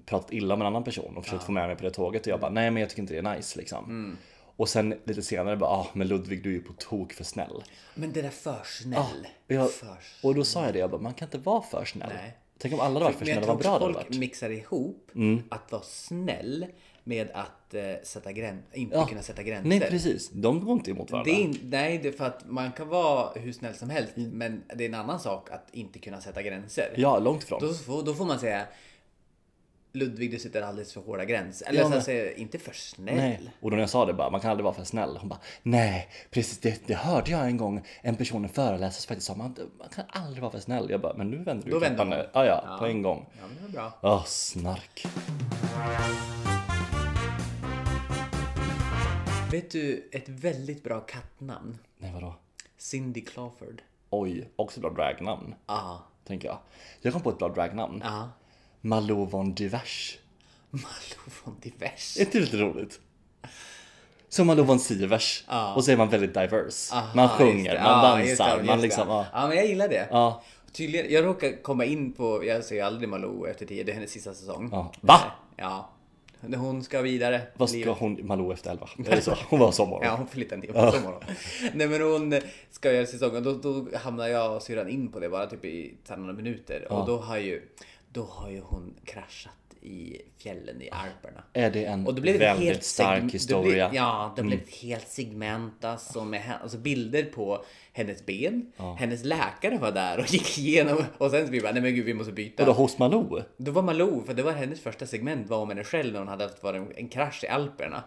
S2: pratat illa om en annan person och försökt
S1: Ah.
S2: få med mig på det tåget och jag bara nej men jag tycker inte det är nice liksom.
S1: Mm.
S2: Och sen lite senare bara ah men Ludvig du är ju på tok för snäll.
S1: Men det där för snäll.
S2: Och, jag,
S1: För snäll.
S2: och då sa jag det, jag bara man kan inte vara för snäll.
S1: Nej.
S2: Tänk om alla hade varit för
S1: Men jag
S2: snälla, vad
S1: tror
S2: bra
S1: att
S2: det hade
S1: folk
S2: varit.
S1: mixar ihop att vara snäll med att eh, sätta grän- inte kunna sätta gränser.
S2: Nej precis, de går inte emot varandra.
S1: det är, in- nej, det är för att man kan vara hur snäll som helst, men det är en annan sak att inte kunna sätta gränser.
S2: Ja, långt ifrån.
S1: Då, får, då får man säga Ludvig, du sätter alldeles för hårda gränser. Eller
S2: Ja,
S1: så
S2: men-
S1: säger jag, inte för snäll.
S2: Nej. Och då när jag sa det bara, man kan aldrig vara för snäll. Hon bara, nej, precis det, det hörde jag en gång en person i föreläsare som faktiskt sa, man, man kan aldrig vara för snäll. Jag bara, men nu vänder du
S1: Då vänder
S2: kappan
S1: hon.
S2: nu. Ja, ja,
S1: Ja.
S2: på en gång.
S1: Ja, men det var bra.
S2: Åh, snark.
S1: Vet du ett väldigt bra kattnamn?
S2: Nej, vadå?
S1: Cindy Clawford.
S2: Oj, också bra dragnamn,
S1: Ja.
S2: tänker jag. Jag kom på ett bra dragnamn.
S1: Ja.
S2: Malou von Divers.
S1: Malou von Divers.
S2: Är inte det lite roligt? Som Malou von Sivers. Och så är man väldigt diverse. man
S1: Ja, just
S2: sjunger,
S1: det.
S2: man
S1: Ja, just
S2: dansar,
S1: det,
S2: man
S1: just
S2: liksom,
S1: det.
S2: ja.
S1: ja. men jag gillar det.
S2: Ja.
S1: Tydligen, jag råkar komma in på, jag ser ju aldrig Malou efter tio, det är hennes sista säsong.
S2: Ja. Va?
S1: Ja. Hon ska vidare. i
S2: Vad ska
S1: livet.
S2: hon, Malou efter elva? Är det så? Hon var sommar.
S1: Ja, hon flyttar inte på sommaren. Nej men hon ska göra säsongen. Då, då hamnar jag och syrran in på det bara typ i så här några minuter. Och då har ju, då har ju hon kraschat i fjällen i Alperna.
S2: Är det en
S1: Och det blev ett helt seg-
S2: väldigt stark
S1: det
S2: historia? Mm.
S1: Blev, ja, det blev ett helt segment alltså, med hen- alltså bilder på hennes ben. Hennes läkare var där och gick igenom och sen så vi bara, nej men gud vi måste byta.
S2: Vadå, hos Malou?
S1: Då var Malou, för det var hennes första segment var om henne själv när hon hade haft varit en, en krasch i Alperna.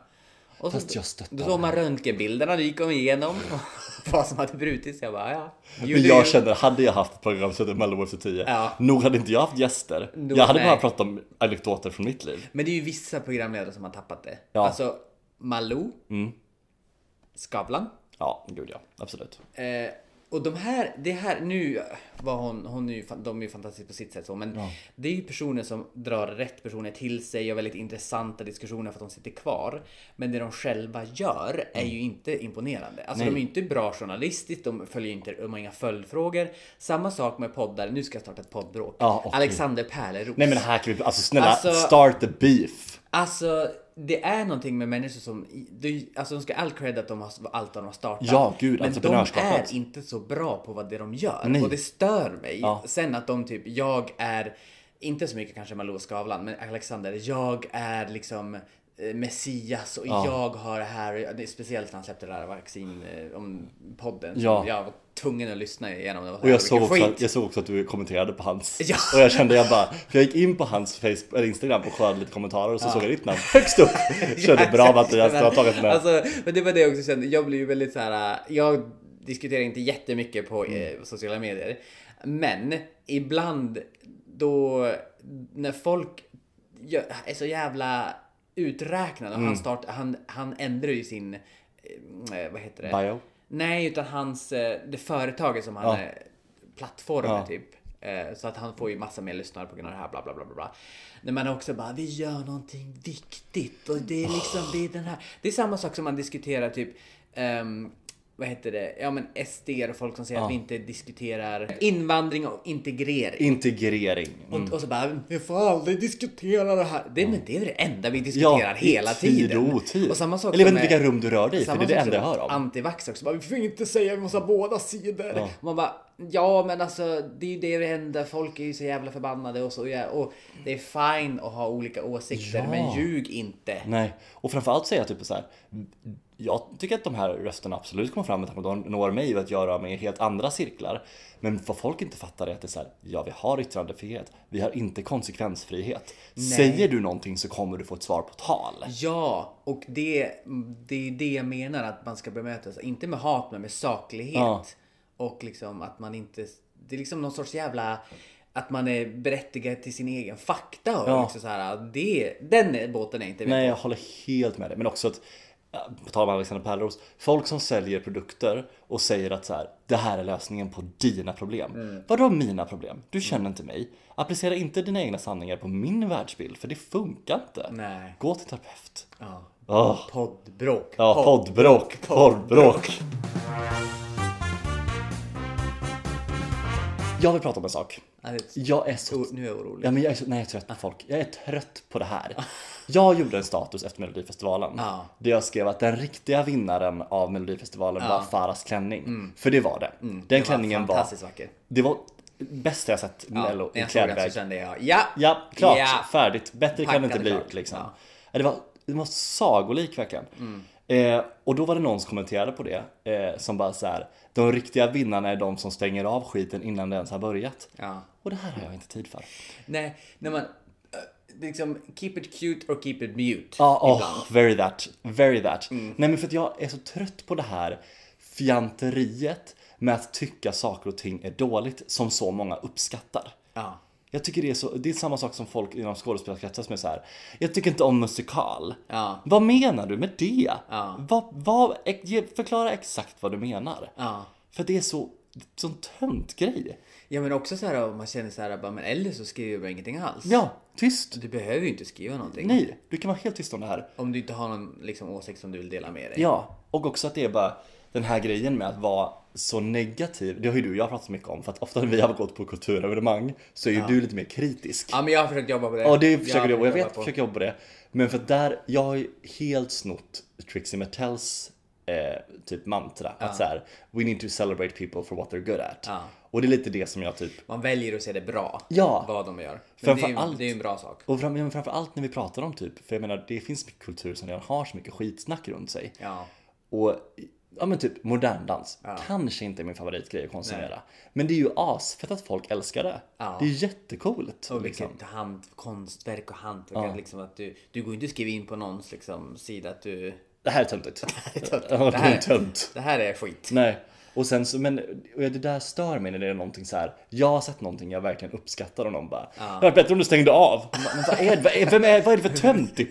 S1: Och
S2: Fast jag stöttar
S1: Då såg man röntgenbilderna, då gick hon igenom vad som hade brutits. Jag bara, ja. You
S2: Men
S1: do
S2: jag
S1: you.
S2: känner, hade jag haft ett program som hette Mello efter 10,
S1: Ja.
S2: nog hade inte jag haft gäster.
S1: Nog-
S2: jag hade bara
S1: nej.
S2: pratat om anekdoter från mitt liv.
S1: Men det är ju vissa programledare som har tappat det.
S2: Ja. Mm.
S1: Alltså, Malou, Skavlan.
S2: Ja, gud ja. Absolut.
S1: Eh, och de här, det här, nu var hon, hon är ju, fan- de är ju fantastiska på sitt sätt så, men det är ju personer som drar rätt personer till sig och väldigt intressanta diskussioner för att de sitter kvar. Men det de själva gör är
S2: Mm.
S1: ju inte imponerande. Alltså de är ju inte bra journalistiskt, de följer inte, de har inga följdfrågor. Samma sak med poddar, nu ska jag starta ett poddbråk.
S2: Ja, och-
S1: Alexander Pärleros.
S2: Nej men här kan vi, alltså snälla,
S1: Alltså-
S2: start the beef.
S1: Alltså, det är någonting med människor som... det- Alltså, de ska ha all cred att de har allt de har startat.
S2: Ja, gud,
S1: Men de
S2: entreprenörskapet.
S1: är inte så bra på vad det är de gör.
S2: Nej.
S1: Och det stör mig.
S2: Ja.
S1: Sen att de typ, jag är... Inte så mycket kanske Malou Skavlan, men Alexander, jag är liksom eh, Messias och jag har det här, det är speciellt när han släppte det där vaccin eh, om podden. som
S2: Ja.
S1: Jag var tvungen att lyssna igenom. Det var så
S2: Och
S1: här,
S2: jag såg,
S1: vilken
S2: också
S1: skit.
S2: att, jag såg också att du kommenterade på hans.
S1: Ja.
S2: Och jag kände jag bara, för jag gick in på hans Facebook, eller Instagram och kollade lite kommentarer och så såg jag ditt namn högst upp. Kände bra Mattias, du har tagit den här.
S1: Alltså, men det var det jag också kände. Jag blir ju väldigt så här. äh, Jag diskuterar inte jättemycket på
S2: Mm.
S1: eh, sociala medier. Men ibland då när folk gör, är så jävla uträknade och han,
S2: Mm.
S1: start, han, han ändrar ju sin, eh, vad heter det?
S2: Bio?
S1: Nej, utan hans, eh, det företaget som han eh, plattformen
S2: Ja.
S1: typ. Eh, Så att han får ju massa mer lyssnare på grund av det här bla bla bla bla, bla. När man också bara, vi gör någonting viktigt och det är liksom,
S2: Ah.
S1: det är den här. Det är samma sak som man diskuterar typ, ehm, vad heter det, ja men SD och folk som säger att vi inte diskuterar invandring och integrering.
S2: Integrering. Mm.
S1: Och, och så bara, vi får aldrig diskutera det här. Det, men det är det enda vi diskuterar hela
S2: i tid
S1: tiden.
S2: och otid.
S1: Och samma sak
S2: Eller jag vet
S1: som
S2: inte
S1: är-
S2: vilka rum du rör dig i, för
S1: samma
S2: det är det
S1: sak
S2: enda jag
S1: som
S2: hör om.
S1: Antivax också. Bara, vi får inte säga vi måste ha båda sidor. Man bara, ja men alltså det är ju det det händer. Folk är ju så jävla förbannade och så. jä- Och det är fine att ha olika åsikter
S2: Ja.
S1: men ljug inte.
S2: Nej, och framförallt säger jag typ så här. Jag tycker att de här rösterna absolut kommer fram med tanke på att de når mig och att jag rör mig i helt andra cirklar. Men vad folk inte fattar är att det är så här, ja vi har yttrandefrihet, vi har inte konsekvensfrihet. Säger du någonting så kommer du få ett svar på tal.
S1: Ja, och det, det är det jag menar att man ska bemötas. Inte med hat, men med saklighet.
S2: Ja.
S1: Och liksom att man inte... Det är liksom någon sorts jävla... Att man är berättigad till sin egen fakta. Och
S2: Ja.
S1: liksom så här, det, den båten är inte med
S2: Nej,
S1: på.
S2: jag håller helt med dig. Men också att, ja, på tal om Alexander Pärleros, folk som säljer produkter och säger att så här, det här är lösningen på dina problem.
S1: Mm.
S2: Vadå mina problem? Du känner inte mig. Applicera inte dina egna sanningar på min världsbild, för det funkar inte.
S1: Nej.
S2: Gå till terapeut.
S1: Ja.
S2: Åh,
S1: Poddbråk.
S2: ja,
S1: Podd-
S2: poddbråk, poddbråk. Jag vill prata om en sak.
S1: Ja, det-
S2: Jag är så...
S1: Nu är jag orolig.
S2: Ja, men jag är så... Nej, jag är trött på folk. Jag är trött på det här. Jag gjorde en status efter Melodifestivalen.
S1: Ja.
S2: Där jag skrev att den riktiga vinnaren av Melodifestivalen var Farahs klänning.
S1: Mm.
S2: För det var det. Den klänningen var...
S1: Fantastiskt vacker.
S2: Det var bästa jag sett Mello
S1: när
S2: i
S1: jag såg den
S2: klädväg.
S1: så kände jag, ja!
S2: Ja, klart.
S1: Ja.
S2: Färdigt. Bättre kan
S1: Packat
S2: det inte bli
S1: klart.
S2: liksom.
S1: Ja. Mm.
S2: Ja. Det, var, det var sagolik verkligen. Eh, och då var det någon som kommenterade på det eh, som bara så här. De riktiga vinnarna är de som stänger av skiten innan det ens har börjat.
S1: ja.
S2: Och det här har jag inte tid för.
S1: Nej, när man... eh, Liksom, keep it cute or keep it mute.
S2: Ja, oh, very that. Very that.
S1: Mm.
S2: Nej men för att jag är så trött på det här fjanteriet med att tycka saker och ting är dåligt som så många uppskattar.
S1: Ja.
S2: Jag tycker det är, så, det är samma sak som folk inom skådespelarkretsar som är så här. Jag tycker inte om musikal.
S1: Ja.
S2: Vad menar du med det?
S1: Ja.
S2: Vad, vad, ex- ge- förklara exakt vad du menar.
S1: Ja.
S2: För det är så, sån tönt grej.
S1: ja, men också så här om man känner så här, bara, men eller så skriver jag bara ingenting alls.
S2: Ja, tyst.
S1: Du behöver ju inte skriva någonting.
S2: Nej, du kan vara helt tyst om det här.
S1: Om du inte har någon liksom, åsikt som du vill dela med dig.
S2: Ja, och också att det är bara den här grejen med att vara så negativ. Det har ju du och jag pratat mycket om. För att ofta när vi har gått på kulturevenemang så är ju du lite mer kritisk.
S1: Ja, men jag har försökt jobba på det.
S2: Ja, det försöker
S1: har
S2: jag och jag
S1: försökt
S2: vet att jag försöker jobba på det. Men för att där, jag har ju helt snott Trixie Mattells eh, typ mantra. Att så här, we need to celebrate people for what they're good at.
S1: Ja.
S2: Och det är lite det som jag typ,
S1: Man väljer att se det bra.
S2: Ja.
S1: Vad de gör. Men det
S2: Framför
S1: är, ju,
S2: allt-
S1: det är ju en bra sak.
S2: och fram, men framför allt när vi pratar om typ, för jag menar det finns mycket kultur som redan har så mycket skitsnack runt sig.
S1: Ja.
S2: Och ja men typ modern dans, kanske inte är min favoritgrej att konsumera. Men det är ju asfett att folk älskar det.
S1: Ja.
S2: Det är jättecoolt.
S1: Och
S2: liksom.
S1: vilket hand, konstverk och hantverk. att Liksom att du, du går ju inte att skriva in på någons liksom, sida att du...
S2: Det här är töntigt.
S1: är töntigt. Det
S2: Ja, det
S1: här
S2: här
S1: är-
S2: är tönt.
S1: Det här är skit.
S2: Nej. Och sen så, men och det där stör mig när det är någonting så här. Jag har sett någonting jag verkligen uppskattar och någon bara Det var bättre om du stängde av. Man bara, Men vad är, vad är, vem är, vad är det för töntig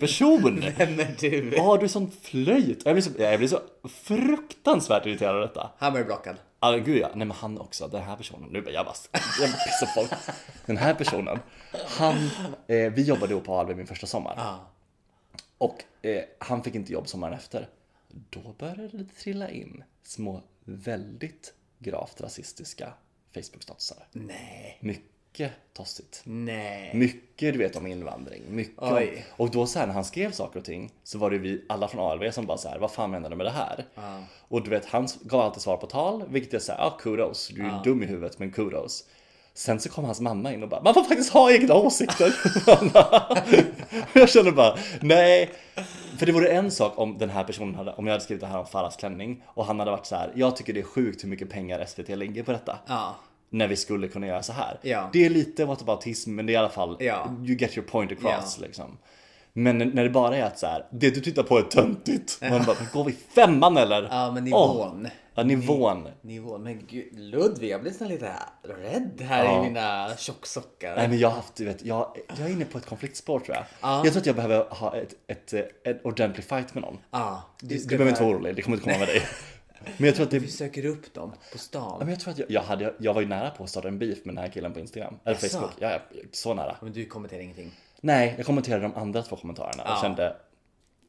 S2: person?
S1: Vem är du?
S2: Ja, du är sån flöjt. Jag blir så, jag blir så fruktansvärt irriterad av detta.
S1: Han blev blockad.
S2: Ja, Alltså, gud ja. Nej, men han också. Den här personen. Nu bara, jag bara, jag bara pissar på folk. Den här personen. Han, eh, vi jobbade ihop på Alby min första sommar. Och eh, han fick inte jobb sommaren efter. Då började det trilla in små väldigt gravt rasistiska Facebook-statusar.
S1: Nej.
S2: Mycket tossigt.
S1: Nej.
S2: Mycket du vet om invandring. Mycket om,
S1: Oj.
S2: och då så här när han skrev saker och ting så var det vi alla från ALV som bara så här, vad fan menar du med det här? Och du vet han gav alltid svar på tal vilket jag säger, ja ah, kudos, du är dum i huvudet men kudos. Sen så kom hans mamma in och bara, man får faktiskt ha egna åsikter. jag kände bara, nej. För det vore en sak om den här personen hade, om jag hade skrivit det här om Farahs klänning och han hade varit så här, jag tycker det är sjukt hur mycket pengar SVT lägger på detta
S1: Ja.
S2: när vi skulle kunna göra så här.
S1: Ja.
S2: Det är lite whataboutism men det är i alla fall
S1: Ja.
S2: you get your point across liksom. Men när det bara är att så här, det du tittar på är töntigt. Man bara, går vi femman eller?
S1: Ja, men nivån. Mm.
S2: Ja, nivån.
S1: Nivån. Men gud, Ludvig, jag blir nästan lite rädd här
S2: Ja.
S1: i mina tjocksockar.
S2: Nej men jag har haft, du vet, jag, jag är inne på ett konfliktspår tror jag.
S1: Ja.
S2: Jag tror att jag behöver ha ett, ett, ett, ordentlig fight med någon.
S1: Ja,
S2: Du,
S1: ska
S2: behöver inte
S1: bara-
S2: vara orolig, det kommer inte komma med dig. Men jag tror att det
S1: Du söker upp dem på
S2: Ja,
S1: stan.
S2: men jag, tror att jag, jag, hade, jag var ju nära på att starta en beef med den här killen på Instagram. Eller
S1: Jaså?
S2: Facebook. Ja, ja, så nära.
S1: Men du kommenterar ingenting.
S2: Nej, jag kommenterade de andra två kommentarerna och kände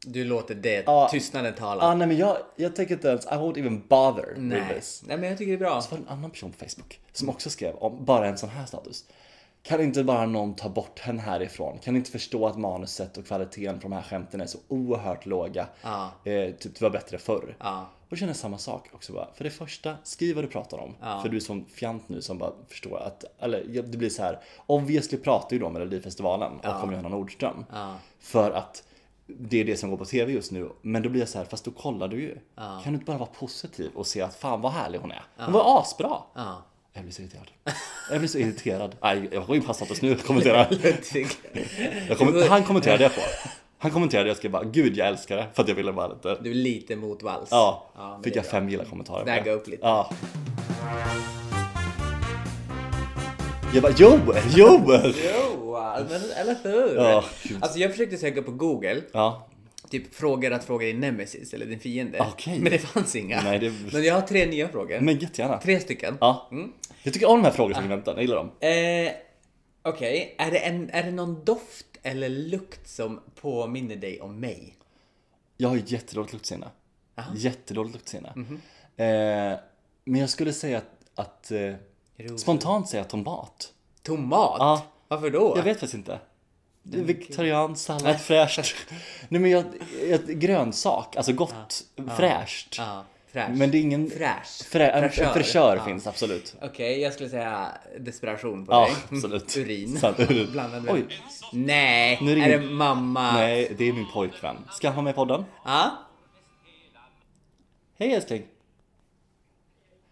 S1: Du låter det
S2: Ja.
S1: tystnaden tala.
S2: Ah, nej men jag, jag tänker inte ens, I won't even bother with
S1: Nej.
S2: this.
S1: Nej, men jag tycker det är bra.
S2: Det var en annan person på Facebook som också skrev om bara en sån här status. Kan inte bara någon ta bort henne härifrån? Kan inte förstå att manuset och kvaliteten på de här skämten är så oerhört låga?
S1: Ja.
S2: Eh, typ, det var bättre förr.
S1: Ja.
S2: Och känner samma sak också bara. För det första, skriv vad du pratar om. För du är sån fjant nu som bara förstår att, eller ja, det blir så här. Obviously pratar ju du om Melodifestivalen och om Johanna Nordström. För att det är det som går på TV just nu. Men då blir jag så här, fast då kollar du ju. Kan du inte bara vara positiv och se att fan vad härlig hon är. Hon var asbra.
S1: Ja.
S2: Jag blir så irriterad. Jag blir så irriterad. Nej, jag har ju passat oss nu att kommentera.
S1: Ludvig.
S2: Jag kommer- han kommenterade jag på. Han kommenterade jag skrev bara gud jag älskar det. För att jag ville bara lite
S1: Du är lite mot vals.
S2: Ja,
S1: men
S2: fick
S1: det är
S2: jag
S1: bra.
S2: fem gilla-kommentarer. på
S1: Väga
S2: det.
S1: upp lite.
S2: Ja. Jag bara Joel, Joel!
S1: Jo, men, eller hur?
S2: Ja, gud.
S1: alltså jag försökte söka på Google,
S2: Ja,
S1: typ frågor att fråga din nemesis eller din fiende.
S2: Okej.
S1: Men det fanns inga.
S2: Nej, det-
S1: Men jag har tre nya frågor.
S2: men jättegärna.
S1: Tre stycken.
S2: Ja.
S1: Mm.
S2: Jag tycker om de här frågesegmenten, jag gillar dem.
S1: Eh, Okej, är, det en- är det någon doft eller lukt som påminner dig om mig?
S2: Jag har ju jättedåligt luktsinne.
S1: Mhm.
S2: Jättedåligt luktsinne. Eh, men jag skulle säga att, att eh,
S1: Rosor.
S2: Spontant säger jag tomat.
S1: Tomat?
S2: Ja.
S1: Varför då?
S2: Jag vet faktiskt inte. Det är Vegetarianskt, sallad, fräscht. Nej men jag, jag, grönsak, alltså gott, fräscht.
S1: Ja, fräsch.
S2: Men det är ingen...
S1: Fräsch.
S2: Frä, en,
S1: Fräschör.
S2: en fräschör
S1: Ja.
S2: finns absolut.
S1: Okej, jag skulle säga desperation på
S2: Ja,
S1: dig.
S2: absolut.
S1: Urin.
S2: Sant, urin.
S1: Blandad med.
S2: Oj.
S1: Nej,
S2: Nu ringer-
S1: är det mamma?
S2: Nej, det är min pojkvän. Ska han vara med i podden?
S1: Ja?
S2: Hej älskling!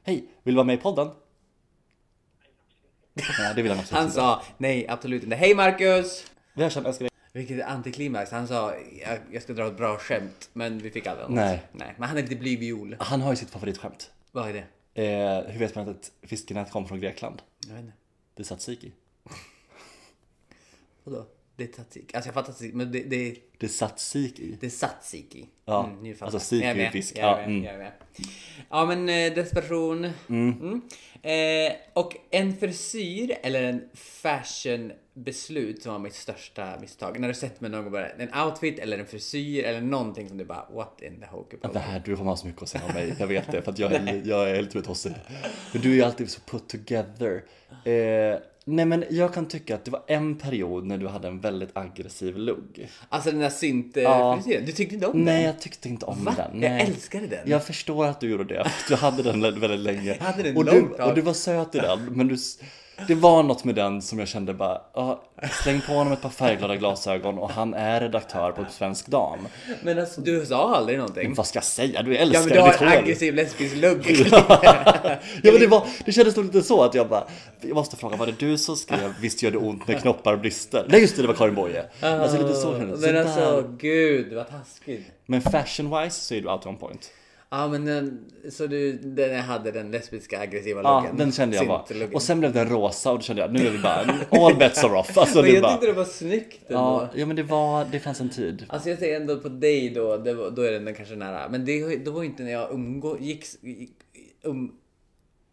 S2: Hej, vill du vara med i podden? Nej, det vill han absolut
S1: Han
S2: inte.
S1: sa nej, absolut inte. Hej Marcus!
S2: Vi hörs sen, älskar dig.
S1: Vilket antiklimax. Han sa jag, jag ska dra ett bra skämt, men vi fick aldrig något.
S2: Nej.
S1: Nej, men han är lite blyg viol.
S2: Han har ju sitt favoritskämt.
S1: Vad är det?
S2: Eh, hur vet man att ett fiskenät kom från Grekland?
S1: Jag vet inte.
S2: Det satt tzatziki.
S1: Vadå? Det är tzatziki. Alltså jag fattar tzatziki, men det, det,
S2: Det satt tzatziki.
S1: det är tzatziki.
S2: Ja,
S1: nu fattar
S2: alltså
S1: jag.
S2: tzatziki
S1: Jag
S2: är
S1: med,
S2: fisk.
S1: Jag är
S2: Ja,
S1: med,
S2: mm.
S1: jag är med. Ja, men eh, desperation. Mm. Eh, och en frisyr eller en fashionbeslut som var mitt största misstag. När du sett mig någon gång bara, en outfit eller en frisyr eller någonting som du bara what in the
S2: Det
S1: hockey
S2: här, du kommer ha så mycket att säga om mig. Jag vet det, för att jag, är, jag är lite tossig. Men du är ju alltid så put together. Eh, nej men jag kan tycka att det var en period när du hade en väldigt aggressiv lugg.
S1: Alltså den där
S2: Ja.
S1: synt-frisyren. Du tyckte inte om den?
S2: Nej, jag tyckte inte om
S1: Va?
S2: den.
S1: Jag
S2: Nej.
S1: älskade den.
S2: Jag förstår att du gjorde det. för Du hade den väldigt länge.
S1: Jag hade den
S2: och, du,
S1: långt tag.
S2: och du var söt i den. Men du, s- det var något med den som jag kände bara, ja, släng på honom ett par färgglada glasögon och han är redaktör på Svensk Dam.
S1: Men alltså du sa aldrig någonting.
S2: Vad Mm. ska jag säga? Du
S1: Ja
S2: älskar
S1: men du har
S2: ditt hår.
S1: en aggressiv lesbisk lugg.
S2: Ja men det, var, det kändes nog lite så att jag bara Jag måste fråga, var det du som skrev Visst gör det ont med knoppar och blister? Nej just det, det var Karin Boye Alltså lite så kändes det
S1: Men
S2: Så
S1: alltså
S2: där.
S1: gud vad taskigt.
S2: Men fashion wise så är du alltid on point
S1: Ja men den, så du den jag hade den lesbiska aggressiva
S2: Ja,
S1: looken.
S2: den kände jag var
S1: Syntlooken.
S2: Och sen blev den rosa och då kände jag nu är det bara All bets are off Alltså
S1: men
S2: det
S1: jag
S2: bara
S1: tyckte det var snyggt ändå.
S2: Ja, ja men det var, det fanns en tid
S1: Alltså jag säger ändå på dig då, det var, då är den kanske nära. Men det, då var ju inte när jag umgicks, um,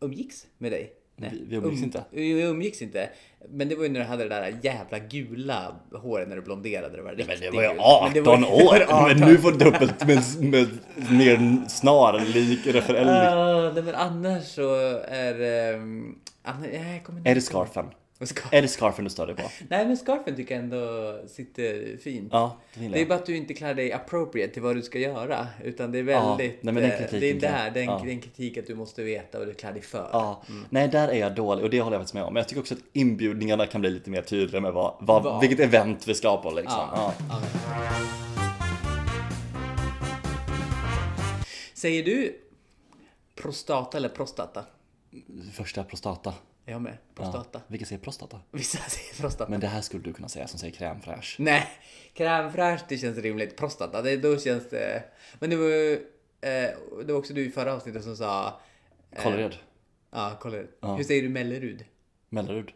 S1: umgicks med dig.
S2: Vi- vi
S1: Um.
S2: umgicks inte.
S1: Vi umgicks inte. Men det var ju när du hade det där jävla gula håret när du blonderade. Det var
S2: men
S1: riktigt
S2: det var ju
S1: gult.
S2: 18
S1: Men det var ju- det var
S2: år!
S1: 18.
S2: Men nu får du dubbelt med, med mer snarlik referens
S1: Ja, nej, men annars så är... Um, annars, jag kommer inte
S2: Är det scarfen?
S1: Och scarf.
S2: Är det scarfen du stör dig på?
S1: Nej men scarfen tycker jag ändå sitter fint.
S2: Ja, det gillar
S1: Det är
S2: jag
S1: bara att du inte klär dig appropriate till vad du ska göra. Utan det är
S2: Ja,
S1: väldigt...
S2: nej, men den
S1: eh, det är
S2: kritiken kan-
S1: där, den,
S2: ja.
S1: den kritik att du måste veta vad du klär dig för.
S2: Ja, nej där är jag dålig och det håller jag faktiskt med om. Men jag tycker också att inbjudningarna kan bli lite mer tydliga med vad, vad,
S1: Vad?
S2: vilket event vi ska på liksom. Ja.
S1: Ja. Säger du prostata eller prostata?
S2: Första prostata.
S1: Jag med. Prostata.
S2: Ja. Vilka säger prostata?
S1: Vissa säger prostata.
S2: Men det här skulle du kunna säga som säger crème fraîche.
S1: Nej, crème fraîche det känns rimligt. Prostata, det, då känns det... Men det var ju... Eh, det var också du i förra avsnittet som sa... Eh.
S2: Kållered.
S1: Ja, kolla. Hur säger du Mellerud?
S2: Mellerud.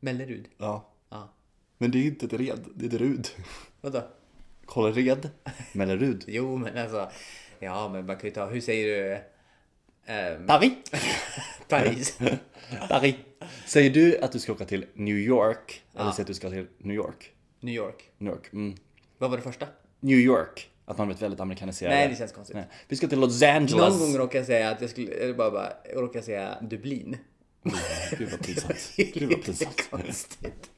S1: Mellerud?
S2: Ja.
S1: Ja.
S2: Men det är inte ett red, det är ett rud.
S1: Vadå?
S2: Kållered. Mellerud.
S1: Jo, men alltså... Ja, men man kan ju ta... Hur säger du... ehm,
S2: Paris.
S1: Paris?
S2: Paris. Säger du att du ska åka till New York? Eller säger att du ska till New York?
S1: New York?
S2: New York. Mm.
S1: Vad var det första?
S2: New York. Att man blivit väldigt amerikaniserad.
S1: Nej, Alltså- det känns konstigt.
S2: Nej. Vi ska till Los Angeles.
S1: Någon gång råkade jag säga att jag skulle... Eller bara, bara råkade jag säga Dublin.
S2: Gud vad pinsamt.
S1: Det är
S2: Gud vad
S1: lite
S2: pinsamt.
S1: konstigt.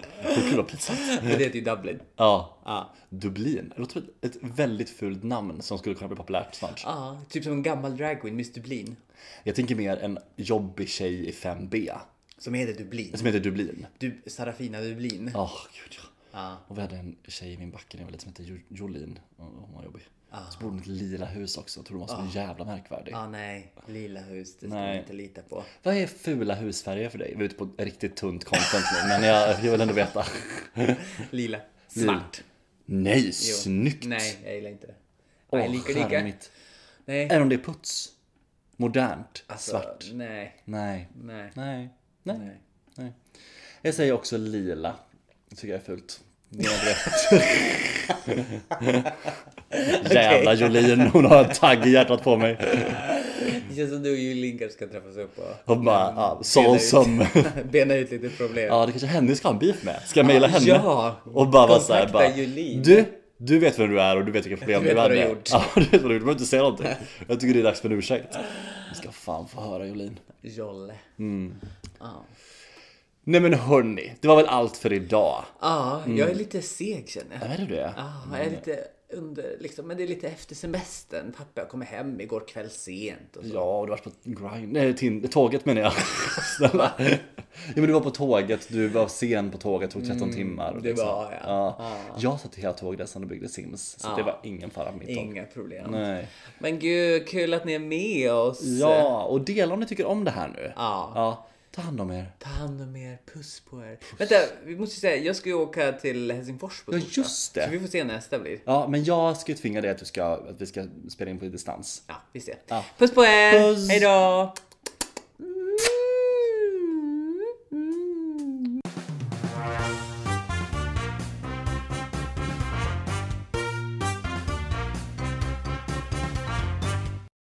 S2: Gud vad pinsamt.
S1: Men det heter ju Dublin.
S2: Ja.
S1: Ja.
S2: Dublin. Det låter som ett väldigt fult namn som skulle kunna bli populärt snart.
S1: Ja, typ som en gammal dragqueen, Miss Dublin.
S2: Jag tänker mer en jobbig tjej i 5B.
S1: Som heter Dublin.
S2: Som heter Dublin.
S1: Alltså, Du, Sarafina Dublin.
S2: Åh, gud ja.
S1: Ja.
S2: Och vi hade en tjej i min backe när jag var liten som hette Jo- Jolin. Och Hon var jobbig. Så bodde hon i ett lila hus också. Jag trodde hon var så jävla märkvärdig.
S1: Ja, nej. Lila hus, det ska
S2: Nej.
S1: man inte lita på.
S2: Vad är fula husfärger för dig? Vi är ute på riktigt tunt content nu, men jag, jag vill ändå veta.
S1: Lila. Svart.
S2: Nej,
S1: Jo.
S2: snyggt!
S1: Nej, jag gillar inte det.
S2: Åh,
S1: nej, lika, lika.
S2: charmigt.
S1: Nej.
S2: Även om det är puts. Modernt. Alltså, Svart.
S1: Så, nej,
S2: Nej.
S1: nej,
S2: Nej. Nej.
S1: nej.
S2: Nej. Jag säger också lila. Det tycker jag är fult. Det är det. Jävla Jolin, hon har en tagg i hjärtat på mig.
S1: Det känns som du och Julinkard ska träffas upp och
S2: Hon bara, ja, såsom.
S1: bena ut lite problem.
S2: Ja, det kanske henne ska ha en beef med. Ska jag mejla henne?
S1: Ah, Ja.
S2: Och bara vara
S1: Kontakta
S2: såhär bara.
S1: Julin.
S2: Du, Du vet vem du är och du vet vilka problem
S1: Du vet vad du har
S2: hade.
S1: gjort.
S2: Ja, du vet vad du har gjort. Du behöver inte säga någonting. Jag tycker det är dags för en ursäkt. Vi ska fan få höra Jolin.
S1: Jolle. Ja,
S2: Nej men hörni, det var väl allt för idag.
S1: Ja,
S2: Mm.
S1: jag är lite seg känner jag.
S2: Vad är det du är?
S1: Ja, jag
S2: Mm.
S1: är lite under, liksom, men det är lite efter semestern. Pappa jag kommer hem igår kväll sent. Och så.
S2: Ja, du var på grind, nej, tin- tåget menar jag. Snälla. Ja, men du var på tåget, du var sen på tåget, tog 13 timmar. och
S1: Mm, det
S2: liksom.
S1: var jag.
S2: Ja. Jag satt i hela tågresan och byggde Sims. Så det var ingen fara med mitt tåg.
S1: Inga problem.
S2: Nej.
S1: Men gud, kul att ni är med oss.
S2: Ja, och dela om ni tycker om det här nu.
S1: Ja.
S2: Ta hand om er.
S1: Ta hand om er, puss på er. Vänta, vi måste ju säga, jag ska ju åka till Helsingfors på
S2: Ja,
S1: torsdag.
S2: just det.
S1: Så vi får se när nästa blir.
S2: Ja, men jag ska ju tvinga dig att, du ska, att vi ska spela in på distans.
S1: Ja, vi ser. Puss på er!
S2: Puss.
S1: Hej då!